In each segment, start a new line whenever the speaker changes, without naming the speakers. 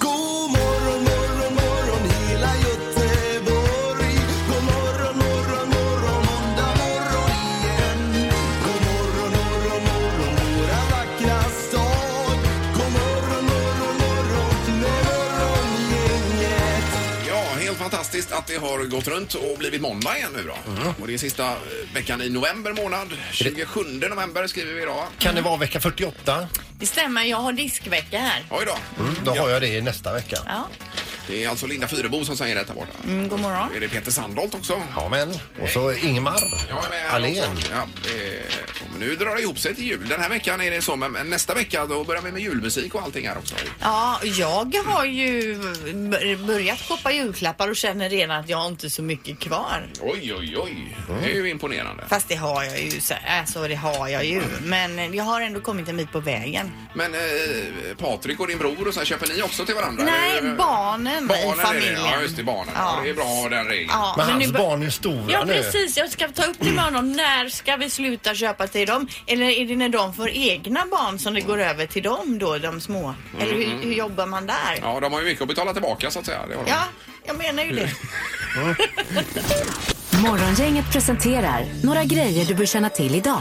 God morgon, morgon, morgon hela Göteborg. God morgon, morgon, morgon måndag morgon igen. God morgon, morgon, morgon våra vackra stad. God morgon, morgon, morgon morgongänget.
Ja, helt fantastiskt att det har gått runt och blivit måndag igen nu då. Och det är sista eh, veckan i november månad. 27 november skriver vi idag.
Kan det vara vecka 48?
Det stämmer, jag har diskvecka här.
Oj då.
Då har jag det i nästa vecka.
Ja.
Det är alltså Linda Fyrebo som säger detta borta.
Mm, god morgon.
Är det Peter Sandholt också?
Ja, men. Och så Ingmar
Jag är med här
Ahlén.
också. Ja, eh, och nu drar det ihop sig till jul. Den här veckan är det så, men men nästa vecka då börjar vi med julmusik och allting här också.
Ja, jag har ju b- börjat shoppa julklappar och känner redan att jag har inte så mycket kvar.
Oj, oj, oj. Det är ju imponerande.
Fast det har jag ju, så- alltså det har jag ju. Men jag har ändå kommit en bit på vägen.
Men eh, Patrik och din bror och så här, köper ni också till varandra?
Nej,
Eller-
barnen,
Barnen
i
är det.
familjen.
Ja, just det, barnen. Ja.
Ja.
det är bra alltså, att ha den regeln.
Ja,
Men
nu
hans
bör-
barn är stora
Ja
nu.
precis, jag ska ta upp det med honom. När ska vi sluta köpa till dem? Eller är det när de får egna barn som det går över till dem då, de små? Eller
Mm.
hur, hur jobbar man där?
Ja, de har ju mycket att betala tillbaka så att säga. Det har de.
Ja, jag menar ju det.
Morgongänget presenterar några grejer du bör känna till idag.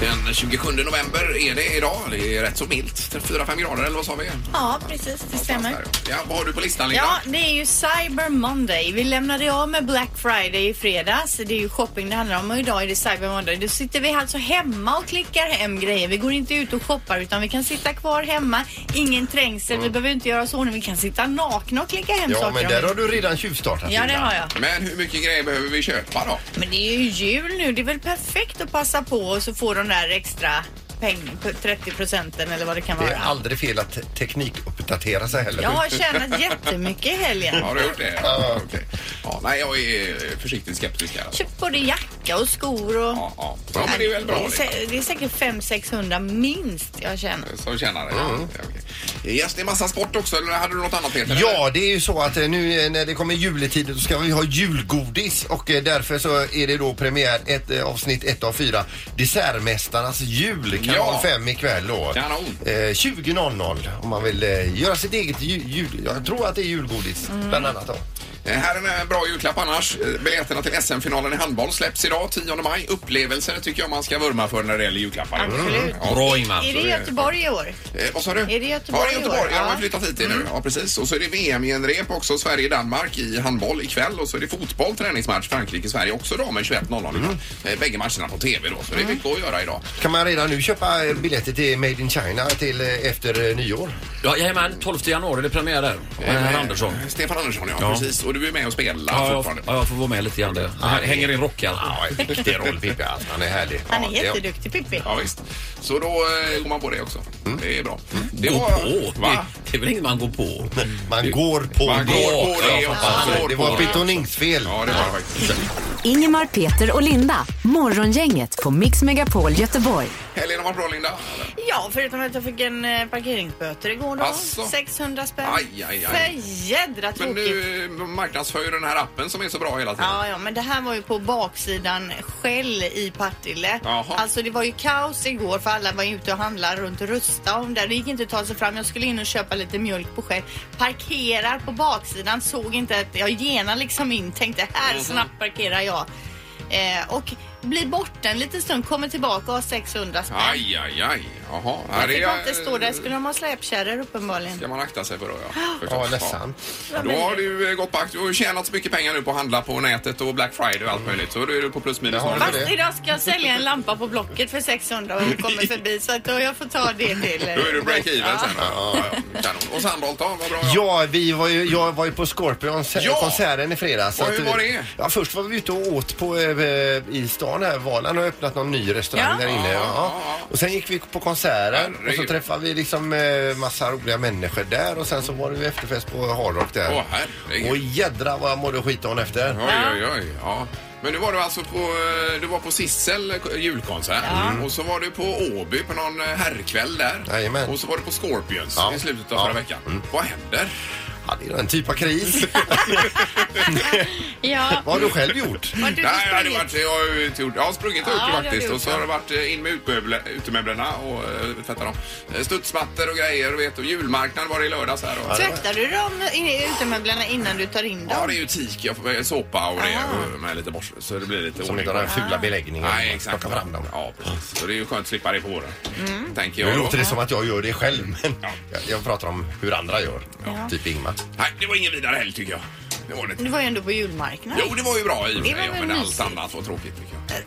Den 27 november är det idag. Det är rätt så milt. 4-5 grader eller vad sa vi?
Ja, precis. Det stämmer.
Ja, vad har du på listan Linda?
Ja, det är ju Cyber Monday. Vi lämnade av med Black Friday i fredags. Det är ju shopping det handlar om och idag är det Cyber Monday. Då sitter vi alltså hemma och klickar hem grejer. Vi går inte ut och shoppar utan vi kan sitta kvar hemma. Ingen trängsel. Vi behöver inte göra oss i ordning. Vi kan sitta nakna och klicka hem
Mm. Ja,
saker.
men
om
där
vi-
har du redan tjuvstartat.
Ja, det
Linda.
har jag.
Men hur mycket grejer behöver vi köpa då?
Men det är ju jul nu. Det är väl perfekt att passa på och så få de där extra peng, 30 procenten eller vad det kan
Det
vara.
är aldrig fel att te- teknikuppdatera sig heller.
Jag har tjänat jättemycket i helgen.
Har du gjort det?
Ja.
Okej. Ja, nej, jag är försiktigt skeptisk här. alltså.
Köpt både jacka och skor och...
Ja, ja. ja men det är väl bra.
Det är, sä- det är säkert 500-600 minst jag känner.
Linda, Som tjänar det. Ja, okej. Yes, det är massa sport också. Eller hade du något annat Peter? eller?
Ja, det är ju så att eh, nu eh, när det kommer juletider så ska vi ha julgodis och eh, därför så är det då premiär ett, eh, avsnitt 1 av 4 Dessertmästarnas jul, kanal
Ja.
5 ikväll då.
Kanon.
Eh, 20.00 om man vill eh, göra sitt eget ju- jul... Jag tror att det är julgodis
Mm.
bland annat då.
Eh, Här är en bra julklapp annars. Eh, Biljetterna till SM-finalen i handboll släpps idag 10 maj. Upplevelser tycker jag man ska vurma för när det gäller julklappar.
Absolut.
Mm. Ja.
Är det Göteborg i år?
Eh, vad sa du?
Är det Göteborg
Ja, det är
i år?
Göteborg. Ja, de har
Ja. Mm.
flyttat hit det nu. Ja, precis. Och så är det VM i en rep också. Sverige-Danmark i handboll ikväll. Och så är det fotboll, träningsmatch, Frankrike-Sverige också då med 21.00. Mm. Bägge matcherna på TV då. Så det är
Mm.
mycket att göra idag.
Kan man redan nu köpa eh, biljetter till Made in China till eh, efter eh, nyår?
Ja, jajamän, 12 januari det är premiär där. Med herr Andersson.
Eh, Stefan Andersson, ja,
Ja.
Precis. Och du är med och spelar
Ja, jag,
fortfarande.
ja, jag får vara med lite grann där. Jag hänger in rockarna.
Viktig roll Pippi Allt, han är härlig.
Han är
Ja, det-
jätteduktig Pippi.
Ja, visst. Så då eh, går man på det också. Det är bra. Det
Mm. Gå
var-
på! Det,
Va?
det är väl inget man går på?
Man går på
Mm. Man går på det
Ja,
också.
fan, Det var
Ja.
betoningsfel.
Ja, det var det faktiskt.
Ingemar, Peter och Linda. Morgongänget på Mix Megapol Göteborg.
Helgen har varit bra, Linda.
Ja, förutom att jag fick en eh, parkeringsböter igår då.
Asså?
600 spänn.
Aj, aj, aj.
För jädra
Men
tråkigt.
nu eh, marknadsför ju den här appen som är så bra hela tiden.
Ja, ja, men det här var ju på baksidan Shell i Partille.
Jaha.
Alltså det var ju kaos igår för alla var ju ute och handlade runt Rustaholm där. Det gick inte att ta sig fram. Jag skulle in och köpa lite mjölk på Shell. Parkerar på baksidan, såg inte att jag genar liksom in. Tänkte här
Mhm.
snabbt parkerar jag. Eh, och blir borta en liten stund, kommer tillbaka och har 600 spänn.
Aj, aj, aj. Jaha. Ja,
Jag fick
det-
inte stå där. Skulle de ha släpkärror uppenbarligen?
ska man akta sig för då, ja.
Ja,
Förstås.
ledsamt.
Ja. Då har du eh, gått på akt. Du har ju tjänat så mycket pengar nu på att handla på nätet och Black Friday och allt möjligt. Så då är du på plus minus
Det har
noll.
du.
Fast idag ska jag sälja en lampa på Blocket för 600 och kommer förbi så att då jag får ta det till. eh,
Då är du break-even sen. Ja, ja. Kanon. Och Sandholt då? Vad bra.
Ja, vi var ju, jag var ju på Scorpions
Ja!
konserten i fredags.
Och
Så att
hur
vi-
var det?
Ja, först var vi ute och åt på, eh, i stan här. Valan har öppnat någon ny restaurang
Ja.
där inne.
Ja,
Ja.
ja, ja.
Och sen gick vi på konserten och så
Herregud.
träffade vi liksom eh, massa roliga människor där och sen så var det ju efterfest på Hard Rock där.
Åh, herregud.
och jädra vad jag mådde skit dagen efter.
Oj, oj, oj. Ja. Men nu var du alltså på, eh, du var på Sissel eh, julkonsert Mm. och så var du på Åby på någon eh, herrkväll där.
Jajamän.
Och så var du på Scorpions
Ja.
i slutet av
Ja.
förra veckan. Vad händer?
Ja, det är en typ av kris.
Ja.
Vad har du själv gjort?
Har du
Nej, jag, hade
sprungit?
varit, jag har ju inte gjort, jag har sprungit och
Ja,
gjort
det
det
har
faktiskt
du
och så
gjort,
har det varit eh, in med utemöble- utemöblerna och eh, tvätta dem. Eh, Studsmattor och grejer vet, och julmarknad var det i lördags här. Och,
Tvättar du dem i- utemöblerna innan du tar in
ja, det
dem?
är ju tik, jag får- eh, såpa och det och med lite borste så det blir lite
Som
ordning
inte
på
har
det.
den fula beläggningen.
Nej, exakt.
Plocka fram dem.
Ja, precis. Så det är ju skönt att slippa det på våren. Tänker jag.
Nu
då.
låter det som att jag gör det själv, men jag, jag pratar om hur andra gör. Typ Ingmar.
Nej, det var ingen vidare helg tycker jag. Det var det inte.
Du var ju ändå på julmarknad.
Jo, det var ju bra i och för
Det var
sig, ja,
väl
men allt
mysigt.
annat var tråkigt tycker jag.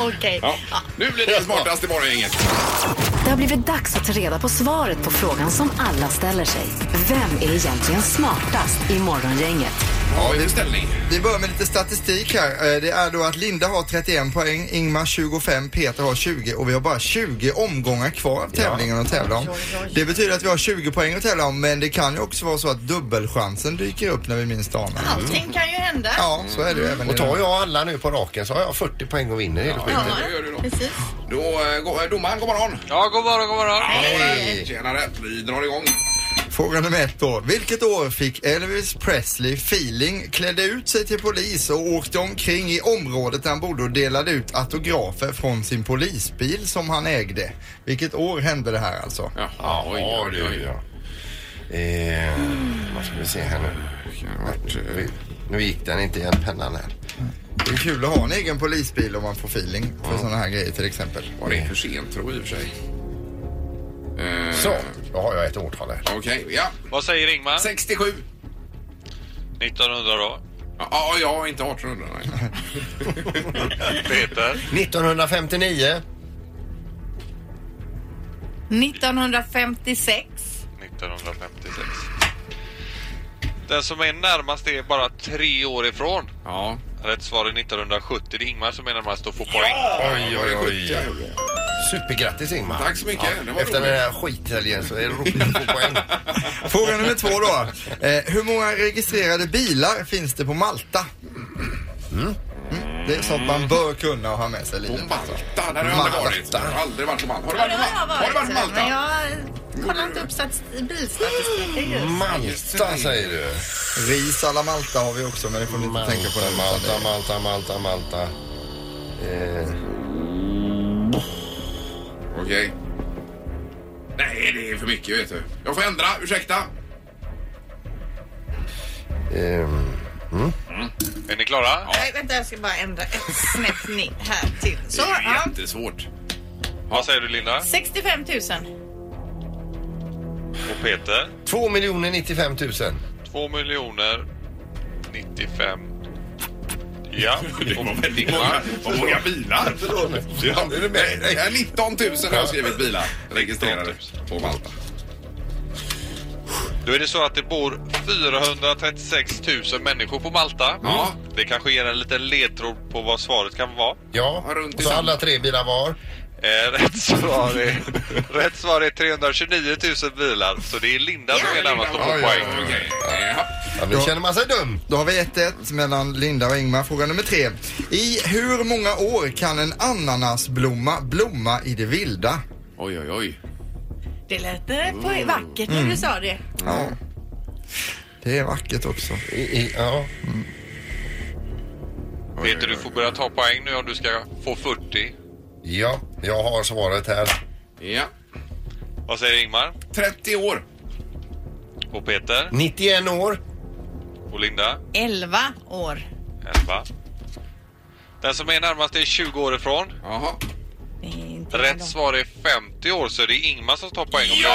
Okej.
Ja. Nu blir det smartast i morgongänget.
Det har blivit dags att ta reda på svaret på frågan som alla ställer sig. Vem är egentligen smartast i Morgongänget?
Ja, i beställning.
Vi börjar med lite statistik här. Eh, Det är då att Linda har 31 poäng, Ingmar 25, Peter har 20 och vi har bara 20 omgångar kvar av tävlingen att tävla om. Det betyder att vi har 20 poäng att tävla om men det kan ju också vara så att dubbelchansen dyker upp när vi minst anar.
Allting kan ju hända.
Ja, så är det ju även i
Och tar
den-
jag alla nu på raken så har jag 40 poäng och vinner hela skiten.
Det gör du då.
Precis.
Då, eh, gå- eh, domaren, god morgon.
Ja, god morgon, god morgon.
Hej! Tjenare, vi drar igång.
Fråga nummer ett då. Vilket år fick Elvis Presley feeling, klädde ut sig till polis och åkte omkring i området där han bodde och delade ut autografer från sin polisbil som han ägde? Vilket år hände det här alltså?
Jaha, oj,
Ja,
oj,
det gör
oj.
jag. Eh, vad ska vi se här nu?
eh,
Vart- Nu gick den inte igen, pennan här.
Det är kul att ha en egen polisbil om man får feeling för sådana här grejer till exempel.
Var det för sent tror jag i och för sig. Eh,
Så, då har jag ett årtal här.
Okej, ja.
Vad säger Ingmar?
67.
1900 då.
Ja, Ja, ja, inte 1800. Nej.
Peter?
1959.
1956.
1956. Den som är närmast är bara tre år ifrån.
Ja.
Rätt svar är 1970. Det är Ingmar som är närmast och får poäng.
Oj, oj, oj.
Ja, det är
Supergrattis Ingmar.
Tack så mycket. Det var
Efter
roligt.
den här skithelgen så är det roligt att få poäng.
Fråga nummer två då. Eh, hur många registrerade bilar finns det på Malta? Mm, det är sånt man bör kunna och ha med sig i
På
livet. alltså.
Malta, där har jag aldrig varit.
Malta.
Jag har aldrig varit på Malta. Har du
Ja,
varit
det
på
har jag
Malta? Har du varit på
varit.
Malta?
Men jag kollar inte upp statist- bilstatistiken
Mm.
just.
Malta säger du.
Ris alla Malta har vi också men det får ni inte
Malta,
tänka på. Den
Malta, Malta, Malta, Malta. Eh,
Okej. Nej, det är för mycket vet du. Jag får ändra, ursäkta.
ehm,
Är ni klara?
Nej, vänta, jag ska bara ändra ett snäpp ner här till. Så,
Det är
ja.
jättesvårt.
Vad säger du Linda?
65 000.
Och Peter?
2 miljoner 95 000.
2 miljoner 95. Ja,
Det var väldigt många, vad många bilar. Ja,
det är det med dig.
eh, 19 000 har jag skrivit bilar registrerade på Malta.
Då är det så att det bor 436 000 människor på Malta.
Ja.
Det kanske ger en liten ledtråd på vad svaret kan vara.
Ja,
Runt i
och så
samma.
alla tre bilar var.
Eh, rätt, svar är, rätt svar är 329 000 bilar. Så det är Linda som är närmast och får
ja,
poäng.
ja.
Okej. Jaha.
Ja, nu känner man sig dum.
Då har vi 1-1 mellan Linda och Ingmar. Fråga nummer tre. I hur många år kan en ananasblomma blomma i det vilda?
Oj, oj, oj.
Det lät eh,
Mm.
på- vackert när du sa det.
Ja. Det är vackert också.
I, i, ja.
Peter, du får börja ta poäng nu om du ska få 40.
ja, jag har svaret här.
Ja.
Vad säger Ingmar?
30 år.
Och Peter?
91 år.
Och Linda?
11 år.
11. Den som är närmast är 20 år ifrån.
Jaha.
Det är inte
Rätt
långt.
svar är 50 år, så det är Ingmar som tar poäng om ja!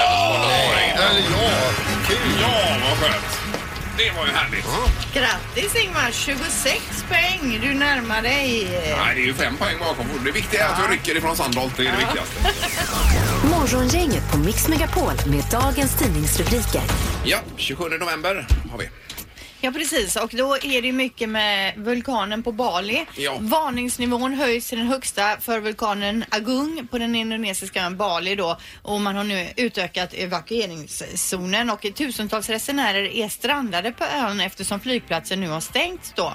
jag
Eller ja, kul.
Ja, vad skönt. Det var ju härligt.
Grattis Ingmar, 26 poäng. Du närmar dig.
Nej, det är ju fem poäng bakom. Det viktiga är att du rycker ifrån Sandholt. Det är det viktigaste.
Morgongänget på Mix Megapol med dagens tidningsrubriker.
Ja, 27 november har vi.
Ja precis och då är det mycket med vulkanen på Bali.
Ja.
Varningsnivån höjs till den högsta för vulkanen Agung på den indonesiska ön Bali då och man har nu utökat evakueringszonen och tusentals resenärer är strandade på ön eftersom flygplatsen nu har stängts då.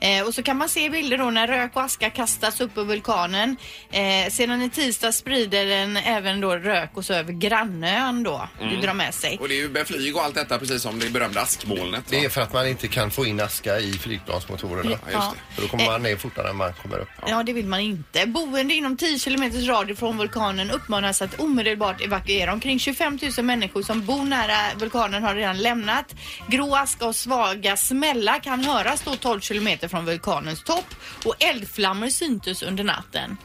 Eh, och så kan man se bilder då när rök och aska kastas upp ur vulkanen. Eh, sedan i tisdag sprider den även då rök och så över grannön då.
Mm.
Det drar med sig.
Och det är ju med flyg och allt detta precis som det berömda askmolnet.
Det är
va?
för att man inte kan få in aska i flygplansmotorerna.
Ja, just det.
För då kommer man ner fortare än man kommer upp.
Ja, det vill man inte. Boende inom 10 kilometers radie från vulkanen uppmanas att omedelbart evakuera. Omkring 25 000 människor som bor nära vulkanen har redan lämnat. Grå aska och svaga smällar kan höras då 12 kilometer från vulkanens topp och eldflammor syntes under natten.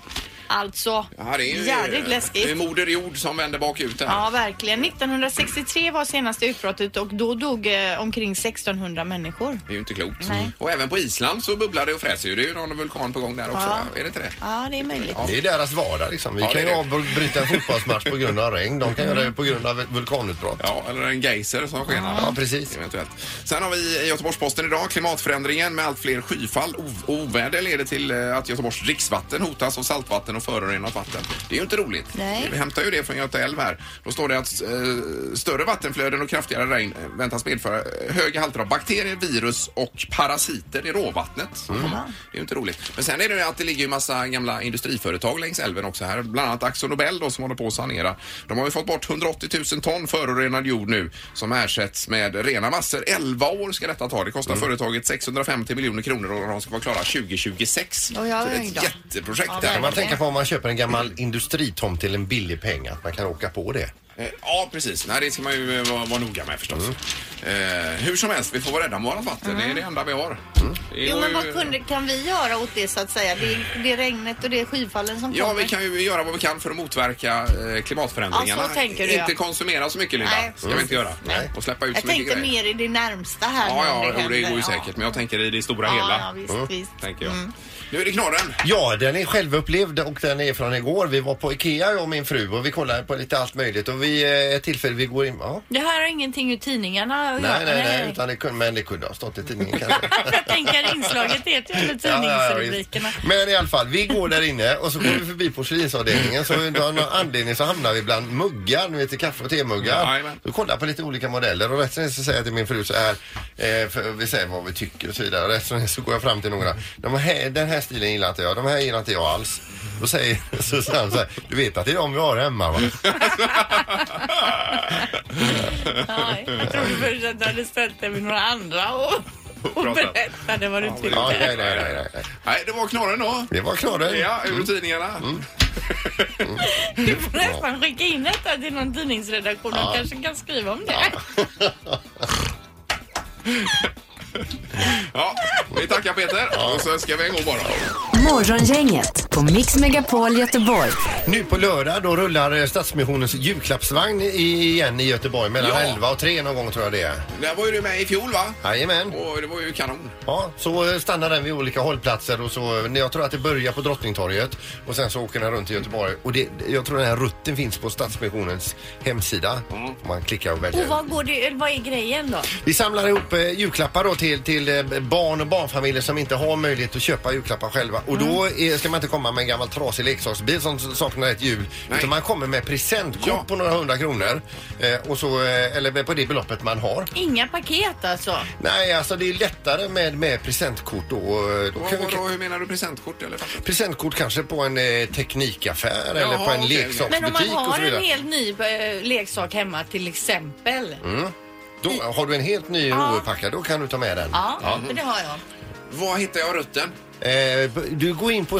Alltså,
Ja, det är ju
jädrigt
Det är
läskigt.
moder jord som vänder bakut här.
Ja, verkligen. 1963 var senaste utbrottet och då dog eh, omkring 1600 människor.
Det är ju inte klokt. Mm.
Nej.
Och även på Island så bubblar det och fräser ju. Det är ju någon vulkan på gång där också.
Ja.
va? Är det inte det?
Ja, det är möjligt.
Det är deras vardag liksom. Vi
Ja,
kan
det
ju
är
avbryta en fotbollsmatch på grund av regn. De kan göra det på grund av ett vulkanutbrott.
Ja, eller en geyser som skenar.
Ja, precis.
Eventuellt. Sen har vi Göteborgs-Posten idag. Klimatförändringen med allt fler skyfall och oväder leder till eh, att Göteborgs dricksvatten hotas av saltvatten och förorenat vatten. Det är ju inte roligt.
Nej.
Vi hämtar ju det från Göta älv här. Då står det att eh, större vattenflöden och kraftigare regn eh, väntas medföra eh, höga halter av bakterier, virus och parasiter i råvattnet. Det är ju inte roligt. Men sen är det ju att det ligger ju massa gamla industriföretag längs älven också här. Bland annat Axo Nobel då, som håller på att sanera. De har ju fått bort 180 000 ton förorenad jord nu som ersätts med rena massor. 11 år ska detta ta. Det kostar företaget 650 miljoner kronor och de ska vara klara 2026.
Oj, oj,
Så det är
oj
ett
då.
jätteprojekt
Ja,
där.
Kan man
verkligen.
tänka på om man köper en gammal industritomt till en billig peng att man kan åka på det.
Eh, Ja, precis. Nej, det ska man ju eh, vara, vara noga med förstås. Eh, hur som helst, vi får vara rädda om vårat vatten. Det är det enda vi har. Det
Mm. Jo,
går
men
ju-
vad kunde, kan vi göra åt det så att säga? Det, är- det är regnet och det är skyfallen som
Ja,
kommer.
vi kan ju göra vad vi kan för att motverka eh, klimatförändringarna.
Ja, så tänker du, ja.
inte konsumera så mycket, Linda.
Nej.
ska vi inte göra. Nej. Och släppa ut
Jag
så mycket
tänkte
grejer.
mer i det närmsta här nu
Ja,
om
ja, jo, det
händer.
går ju
Ja.
säkert. Men jag tänker i det stora
Ja,
hela. Mm,
ja, Mm. visst, visst.
Tänker jag. Nu är det knorren.
Ja, den är självupplevd och den är från igår. Vi var på Ikea, jag och min fru, och vi kollade på lite allt möjligt. Och vid eh, ett tillfälle vi går in... Ja.
Det här har ingenting ur tidningarna att göra.
Nej, nej, nej, utan det kunde, men det kunde ha stått i tidningen kanske.
Jag tänker inslaget heter ju ändå
Ja, ja, ja,
tidningsrubrikerna.
visst. Men i alla fall, vi går där inne och så går vi förbi porslinsavdelningen. Så av någon anledning så hamnar vi bland muggar, ni vet till kaffe och
Ja,
temuggar.
jajamän.
Då kollar jag på lite olika modeller och rätt som det är så säger jag till min fru så här, eh, för vi säger vad vi tycker och så vidare. Och Rätt som det är så går jag fram till några. De här, den här stilen gillar inte jag, de här gillar inte jag alls. Då säger Susanne så här, du vet att det är de vi har hemma va?
Ja, jag trodde först att du hade ställt dig med några andra och, och
Prata.
berättade vad du tyckte.
Ja, nej, nej, nej, nej.
Nej, det var knorren då.
Det var knorren.
Ja, ur tidningarna.
Du får nästan skicka in detta till någon tidningsredaktion. De kanske kan skriva om det.
Ja, vi tackar Peter och så önskar vi en god morgon.
Morgongänget på Mix Megapol Göteborg.
Nu på lördag då rullar eh, Stadsmissionens julklappsvagn i- igen i Göteborg mellan
Ja.
11 och 3 någon gång tror jag det är.
Där var ju du med i fjol, va?
Jajamän.
Och det var ju kanon.
Ja, så eh, stannar den vid olika hållplatser och så, eh, jag tror att det börjar på Drottningtorget och sen så åker den runt i Göteborg och det, jag tror den här rutten finns på Stadsmissionens hemsida.
Mm.
Man klickar och väljer.
Och vad, går det, vad är grejen då?
Vi samlar ihop eh, julklappar då till, till eh, barn och barnfamiljer som inte har möjlighet att köpa julklappar själva. Och då
Mm.
är, ska man inte komma med en gammal trasig leksaksbil som s- saknar ett hjul.
Nej.
Utan man kommer med presentkort
Ja.
på några hundra kronor. Eh, och så, eh, eller på det beloppet man har.
Inga paket alltså?
Nej, alltså det är lättare med, med presentkort då. Eh, då
Vad-
kan vi-
vadå, hur menar du presentkort? Eller? vad?
Presentkort kanske på en eh, teknikaffär eller på en
okej, okej.
Men om
leksaksbutik
man
och
har
så
en
vidare.
helt ny eh, leksak hemma till exempel.
Mm. Då, har du en helt ny
Ja.
opackad, då kan du ta med den.
Ja,
Mm.
för det har jag.
Var hittar jag rutten?
Eh, Du går in på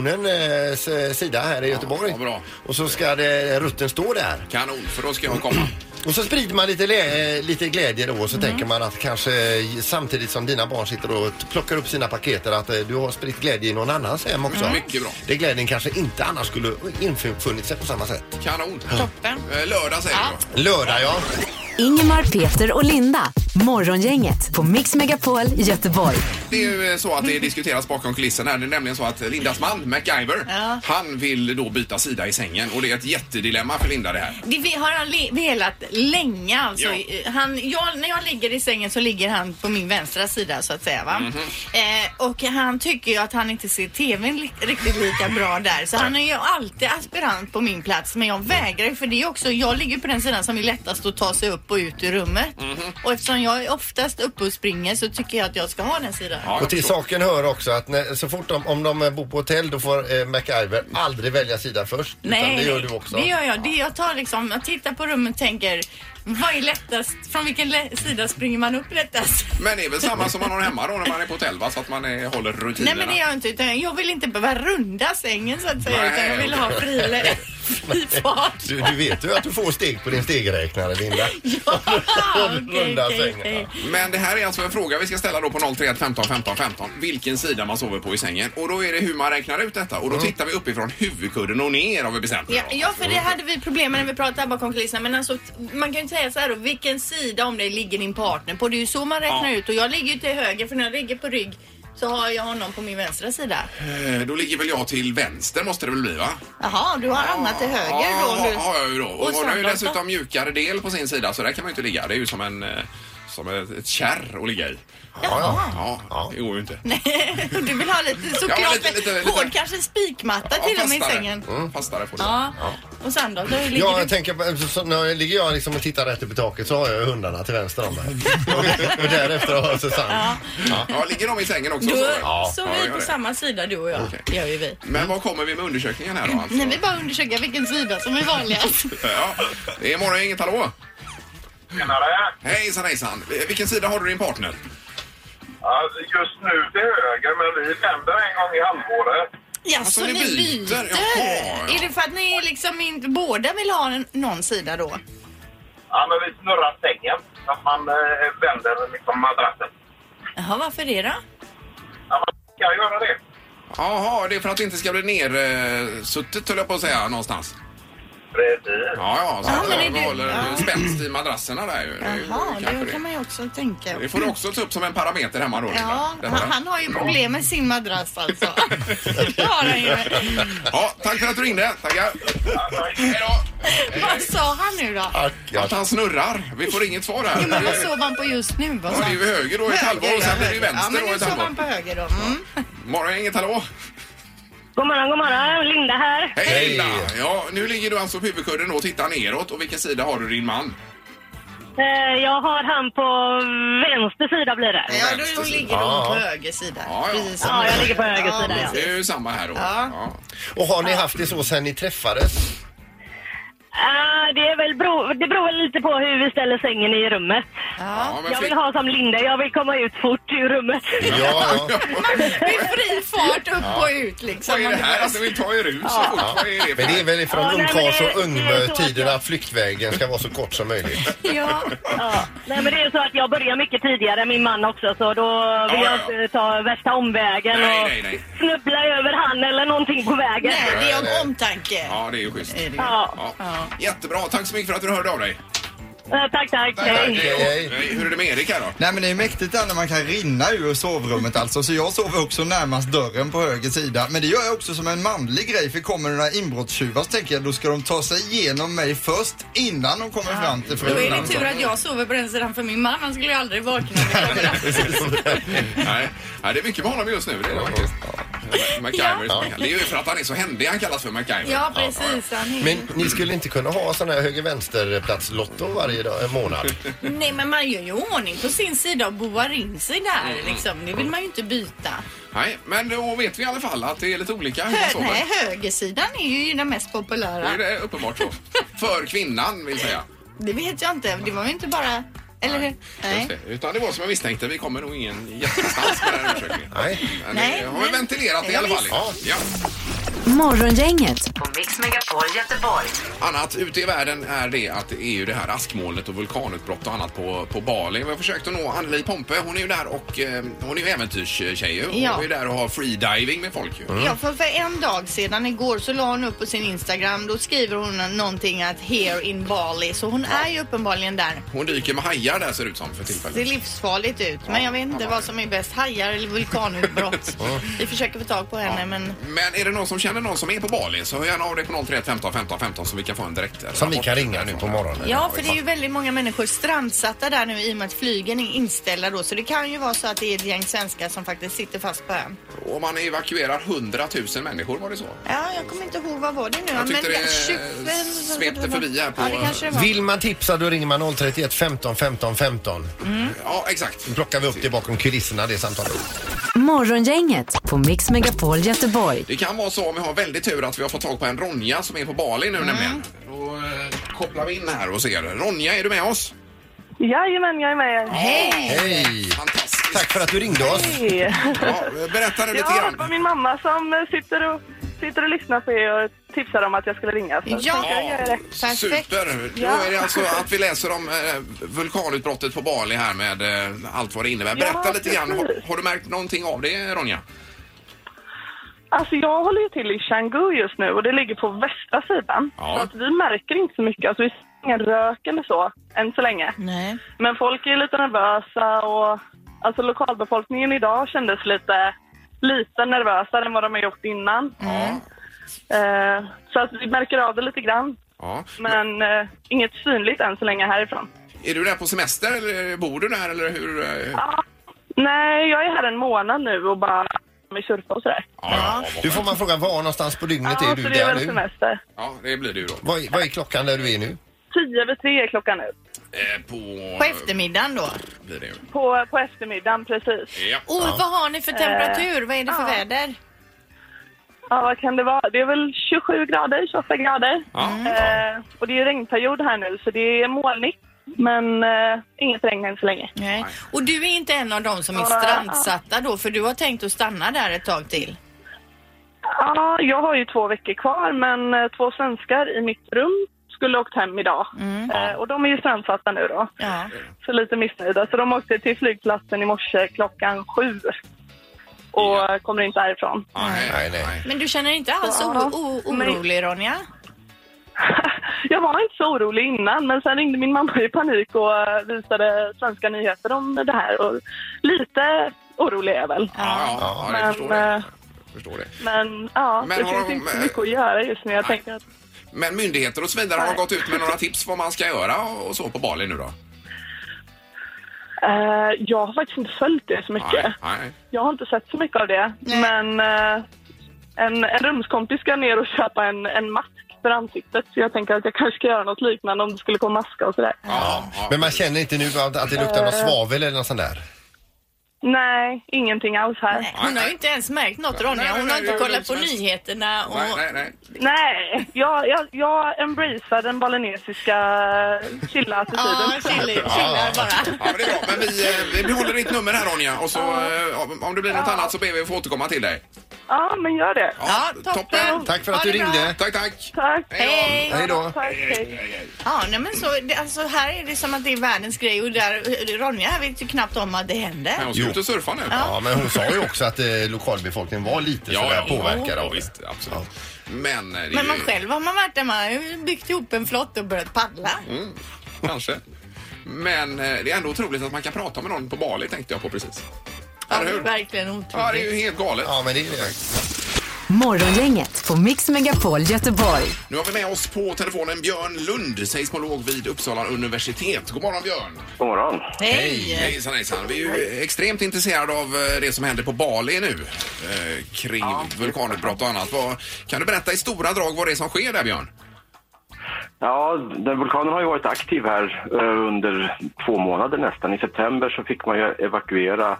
Stadsmissionens eh, sida här i Göteborg.
vad bra.
Och så ska det, rutten stå där.
Kanon, för då ska jag komma.
Och så sprider man lite, lä- eh, lite glädje då och så
Mm.
tänker man att kanske eh, samtidigt som dina barn sitter och t- plockar upp sina paketer att eh, du har spritt glädje i någon annans hem också.
Mm. Mycket bra.
Det glädjen kanske inte annars skulle infunnit sig på samma sätt.
Kanon.
Toppen.
Eh, Lördag säger
Ja.
du.
Lördag ja.
Ingemar, Peter och Linda. Morgongänget på Mix Megapol i Göteborg.
Det är ju eh, så att det diskuteras bakom kulisserna. här. Det är nämligen så att Lindas man, MacGyver,
Ja.
han vill då byta sida i sängen. Och det är ett jättedilemma för Linda det här.
Det vi- har han le- velat länge alltså.
Ja.
Han, jag, när jag ligger i sängen så ligger han på min vänstra sida så att säga va.
Mhm.
Eh, och han tycker ju att han inte ser TVn li- riktigt lika bra där. Så han är ju alltid aspirant på min plats. Men jag vägrar ju för det är också, jag ligger på den sidan som är lättast att ta sig upp och ut ur rummet.
Mhm.
Och eftersom jag är oftast uppe och springer så tycker jag att jag ska ha den sidan.
Ja, jag
Och till
förstår.
saken hör också att när, så fort de, om de eh, bor på hotell då får eh, MacGyver aldrig välja sida först. utan det gör du också.
Det gör jag. Det jag tar liksom, jag tittar på rummet och tänker vad är lättast? Från vilken lä- sida springer man upp lättast?
Men det är väl samma som man har hemma då när man är på hotell va? Så att man eh, håller
Nej
rutinerna.
men det gör jag inte. Utan jag vill inte behöva runda sängen så att säga.
Nej,
utan jag vill
okej.
ha fri, lä- fri fart.
Du, du vet ju att du får steg på din stegräknare Linda.
Ja, okej,
Runda
okej,
sängen,
okej.
Men det här är alltså en fråga vi ska ställa då på 031 15 15 15. Vilken sida man sover på i sängen. Och då är det hur man räknar ut detta. Och då tittar vi uppifrån huvudkudden och ner har vi bestämt
Ja,
idag.
ja, för det hade vi problem med när vi pratade bakom kulisserna. Men alltså, t- man kan ju säga så här då, vilken sida om det ligger din partner på? Det är ju så man räknar
Ja.
ut. Och jag ligger ju till höger, för när jag ligger på rygg så har jag honom på min vänstra sida.
Eh, Då ligger väl jag till vänster måste det väl bli va?
Jaha, du har annat till höger då? om
Ja,
du-
har jag ju då. Och,
Och
hon har ju
Sandholt då?
dessutom mjukare del på sin sida så där kan man ju inte ligga. Det är ju som en... eh, Som ett, ett kärr att ligga i.
Ja,
Ja, det går ju inte.
Du vill ha lite såklart,
Ja, lite- lite- lite-
hård kanske en spikmatta
Ja,
till och med i
fastare.
sängen.
Mm, Fastare får det.
Ja. Och sen då? då ligger
Ja,
du...
jag tänker på, så, så, när jag ligger jag liksom och tittar rätt upp i taket så har jag ju hundarna till vänster om mig. och, och därefter har jag Susanne.
Ja. ligger de i sängen också?
Då
så?
så
Ja,
vi
gör
på
det.
samma sida du och jag.
Okej.
Det gör ju vi.
Men vad kommer vi med undersökningen här då? Alltså?
Nej, vi bara undersöker vilken sida som är vanligast.
Ja, det är morgon, inget hallå?
Tjenare!
Hejsan hejsan! Eh, Vilken sida har du din partner?
Ja, Just nu till höger, men vi vänder en gång i halvåret.
Ja,
Alltså,
så
ni
ni
byter?
byter?
Jaha, ja.
Är det för att ni liksom inte båda vill ha en, någon sida då?
Ja, men vi snurrar sängen, så att man eh, vänder liksom madrassen.
Jaha, varför det då?
Ja, man ska göra det.
Jaha, det är för att det inte ska bli nersuttet höll jag på att säga någonstans.
Precis.
Ja, ja, så
Ja,
att
men är
man
det-
håller
ja.
spänst i madrasserna där ju. Det är ju
Jaha,
kanske
det kan man ju också tänka.
det får du också ta upp som en parameter hemma då. Linda.
Ja,
Detta.
han, han har ju problem med sin madrass alltså. det har han ju.
Ja, tack för att du ringde. Tackar. Hej då.
Vad sa han nu då?
Tack, ja.
Att han snurrar. Vi får inget svar
Jo, men vad
här.
sov han på just nu? Vad
Ja,
sa
det är ju höger då i ett
Höger,
halvår och
ja,
sen blir det ju
höger. Ja,
vänster
men
då i
nu
ett
sov
halvår.
han på höger då. Mm.
Morgon, inget hallå?
God morgon, god morgon. Linda här.
Hej
Hej.
Linda! Ja, nu ligger du alltså på huvudkudden och tittar neråt. Och vilken sida har du din man?
Eh, Jag har han på vänster sida blir det.
Ja, då ligger hon på höger sida.
Ja, ja.
Precis
Ja, jag ligger på höger sida, ja.
Det är ju samma här då.
Ja.
Och har ni haft det så sen ni träffades?
Ah, det, är väl bero, det beror väl lite på hur vi ställer sängen i rummet.
Ja, men
Jag vill
flick-
ha som Linda, jag vill komma ut fort ur rummet.
Ja, ja.
Det är fri fart upp och ut liksom.
Vad är det här Alltså, att du vill ta er ur så fort? Vad är det för-
Men det är väl från
Ja, nej, men
ungkarls
det- det
och
är
ungmö-tiden
så att-
att flyktvägen ska vara så kort som möjligt.
Ja.
Ja. Nej, men det är så att jag börjar mycket tidigare än min man också, så då vill
Ja, ja,
jag
ja.
inte ta värsta omvägen
Nej,
och
nej, nej.
snubbla över han eller någonting på vägen.
Nej, det är om omtanke.
Ja, det är ju schysst.
Är det ju.
Ja.
Ja. Jättebra, tack så mycket för att du hörde av dig.
Eh, Tack, tack. Hej.
Hej. Hur är det med Erik här då?
Nej men det är mäktigt där när man kan rinna ur sovrummet alltså. Så jag sover också närmast dörren på höger sida. Men det gör jag också som en manlig grej för kommer det några inbrottstjuvar så tänker jag då ska de ta sig igenom mig först innan de kommer fram till
Då
frun.
är det
Alltså.
tur att jag sover på den sidan för min man han skulle ju aldrig vakna. när vi kommer upp.
Nej. Nej, det är mycket med honom just nu. Det är det faktiskt. MacGyver.
Ja.
Det är ju för att han är så händig han kallas för MacGyver.
Ja, precis. Han är...
Men ni skulle inte kunna ha sån här höger-vänster-plats-lotto varje dag, eh, månad?
Nej, men man gör ju ordning på sin sida och boar in sig
Mm,
där liksom. Det vill man ju inte byta.
Nej, men då vet vi i alla fall att det är lite olika hur man
Hö nej,
sover.
högersidan är ju den mest
Det är
populära.
det uppenbart så. För kvinnan vill säga.
Det vet jag inte. Det var ju inte bara... Eller hur?
Just
Nej.
det. Utan det var som jag misstänkte, vi kommer nog ingen jättestans med den här undersökningen.
Nej.
Men
Nej,
det har vi
men-
ventilerat det i alla fall.
Ja,
Ja.
Morgongänget Mix Megapol Göteborg.
Annat ute i världen är det att det är ju det här askmolnet och vulkanutbrott och annat på, på Bali. Vi har försökt att nå Anneli Pompe. Hon är ju där och eh, hon är ju äventyrstjej ju.
Ja.
Hon är ju där och har freediving med folk ju.
Mm.
Ja, för, för en dag sedan igår så la hon upp på sin Instagram, då skriver hon någonting att here in Bali, så hon är ju uppenbarligen där.
Hon dyker med hajar där ser det ut som för
Det är
tillfället.
livsfarligt ut, men jag vet inte vad som är bäst, hajar eller vulkanutbrott. Vi försöker få tag på henne, men
Men är det någon som känner någon som är på Bali så hör gärna av dig på 031 15 15 15 så vi kan få en direkt eh,
Som vi
rapport
kan ringa nu
därifrån.
på morgonen.
Ja, för det är ju väldigt många människor strandsatta där nu i och med att flygen är inställda då. Så det kan ju vara så att det är ett gäng svenskar som faktiskt sitter fast på ön.
Och man evakuerar 100 000 människor var det så?
Ja, jag kommer inte ihåg vad var det nu.
Jag tyckte
men
det svepte förbi här på-
Ja, det kanske det var.
Vill man tipsa då ringer man 031 15 15 15.
Ja, exakt.
Då plockar vi upp det bakom kulisserna det samtalet.
Morgongänget på Mix Megapol Göteborg.
Det kan vara så om vi har väldigt tur att vi har fått tag på en Ronja som är på Bali nu
Mm.
nämligen. Då eh, kopplar vi in här och ser. Ronja, är du med oss?
Jajamän, jag är med.
Hej!
Hej!
Fantastiskt.
Tack för att du ringde oss.
Hej.
Ja, berätta nu
Jag
lite
har hört på
grann.
min mamma som eh, sitter och, sitter och lyssnar på er och tipsar om att jag skulle ringa. Så
Ja.
tänkte jag göra det.
Perfekt.
Super! Då
Ja.
är det alltså att vi läser om eh, vulkanutbrottet på Bali här med eh, allt vad det innebär.
Ja,
Berätta lite grann. Har,
precis.
har du märkt någonting av det Ronja?
Alltså jag håller ju till i Canggu just nu och det ligger på västra sidan.
Ja.
Så att vi märker inte så mycket. Alltså vi ser ingen rök eller så än så länge.
Nej.
Men folk är lite nervösa och alltså lokalbefolkningen idag kändes lite, lite nervösare än vad de har gjort innan.
Ja.
Eh, så att vi märker av det lite grann.
ja.
Men eh, inget synligt än så länge härifrån.
Är du där på semester eller bor du där eller hur? eh,
Nej, jag är här en månad nu och bara med surfa och sådär.
Ja, ja,
Du får man fråga var någonstans på dygnet är du
så det är
där
väl
nu?
semester.
ja, det blir du då.
Vad är, vad är klockan där du är nu?
Tio över tre är klockan nu.
Eh, på...
På eftermiddagen då.
blir det ju.
På, på eftermiddagen, precis.
Ja.
Och vad har ni för temperatur? Vad är det för väder?
Ja, vad kan det vara? Det är väl 27 grader, 28 grader.
Ja.
Eh, och det är ju regnperiod här nu, så det är molnigt. Men eh, inget regn än så länge.
Nej. Och du är inte en av dem som är strandsatta då, för du har tänkt att stanna där ett tag till.
Ja, jag har ju två veckor kvar, men eh, två svenskar i mitt rum skulle åkt hem idag.
Mm.
Eh, och de är ju strandsatta nu då,
Ja.
så lite missnöjda. Så de åkte till flygplatsen i morse klockan sju och
Ja.
kommer inte härifrån.
Nej,
Nej, nej.
Men du känner inte alls
Ja.
o- o- orolig Ronja?
Jag var inte så orolig innan, men sen ringde min mamma i panik och eh, visade svenska nyheter om det här. Och lite orolig är jag väl.
Ja, ja, ja, jag
Men,
förstår det.
eh,
Jag förstår det.
Men ja,
Men
det
har
finns
de,
inte
eh,
så mycket att göra just nu. Jag tänker att
Men myndigheter och så vidare har
Nej.
gått ut med några tips vad man ska göra och så på Bali nu då?
eh, jag har faktiskt inte följt det så mycket.
Nej, nej.
Jag har inte sett så mycket av det.
Nej.
Men eh, en, en rumskompis ska ner och köpa en, en mask för ansiktet. Så jag tänker att jag kanske ska göra något liknande om det skulle komma maska och sådär.
Ja, ja.
Men man känner inte nu att, att det luktar någon svavel eller något sånt där?
Nej, ingenting alls här.
Nej, hon har ju inte ens märkt något
Nej,
Ronja.
nej,
Hon
nej,
har inte
det är
kollat
lugnt
på
som helst.
nyheterna och...
Nej, nej, nej.
Nej, jag, jag, jag embracear den balinesiska
Ja,
chilla-attityden.
chill- chillar bara.
Ja, men det är bra. Men vi, eh, vi behåller ditt nummer här Ronja och så eh, om- om det blir något annat så ber vi att få återkomma till dig.
Ja, men gör det.
Ja, toppen.
Tack för
Ha
att du
det bra.
ringde.
Tack, tack.
Tack.
Hej!
Hej då.
Tack, hej.
Ja, nej men så, det, alltså här är det som att det är världens grej och där, eh, Ronja vet ju knappt om att det
Men
händer.
hon ska
Jo.
ut och surfa nu.
Ja, men hon sa ju också att eh, lokalbefolkningen var lite sådär påverkad av det.
visst, absolut. Men, eh, det är
Men man
ju-
själv har man varit där, man har ju byggt ihop en flott och börjat paddla.
Mm, kanske. Men eh, det är ändå otroligt att man kan prata med någon på Bali tänkte jag på precis.
Ja,
Eller
det är
hur?
verkligen
Ja, det är ju
otroligt.
helt galet.
Ja, men det är det.
Morgongänget på Mix Megapol Göteborg.
Nu har vi med oss på telefonen Björn Lund, seismolog vid Uppsala universitet. God morgon Björn!
God morgon.
Hej!
Hejsan hejsan! Vi är ju extremt intresserade av eh, det som händer på Bali nu eh, kring vulkanutbrott och annat. Vad, kan du berätta i stora drag vad det är som sker där Björn?
Ja, den vulkanen har ju varit aktiv här eh, under två månader nästan. I september så fick man ju evakuera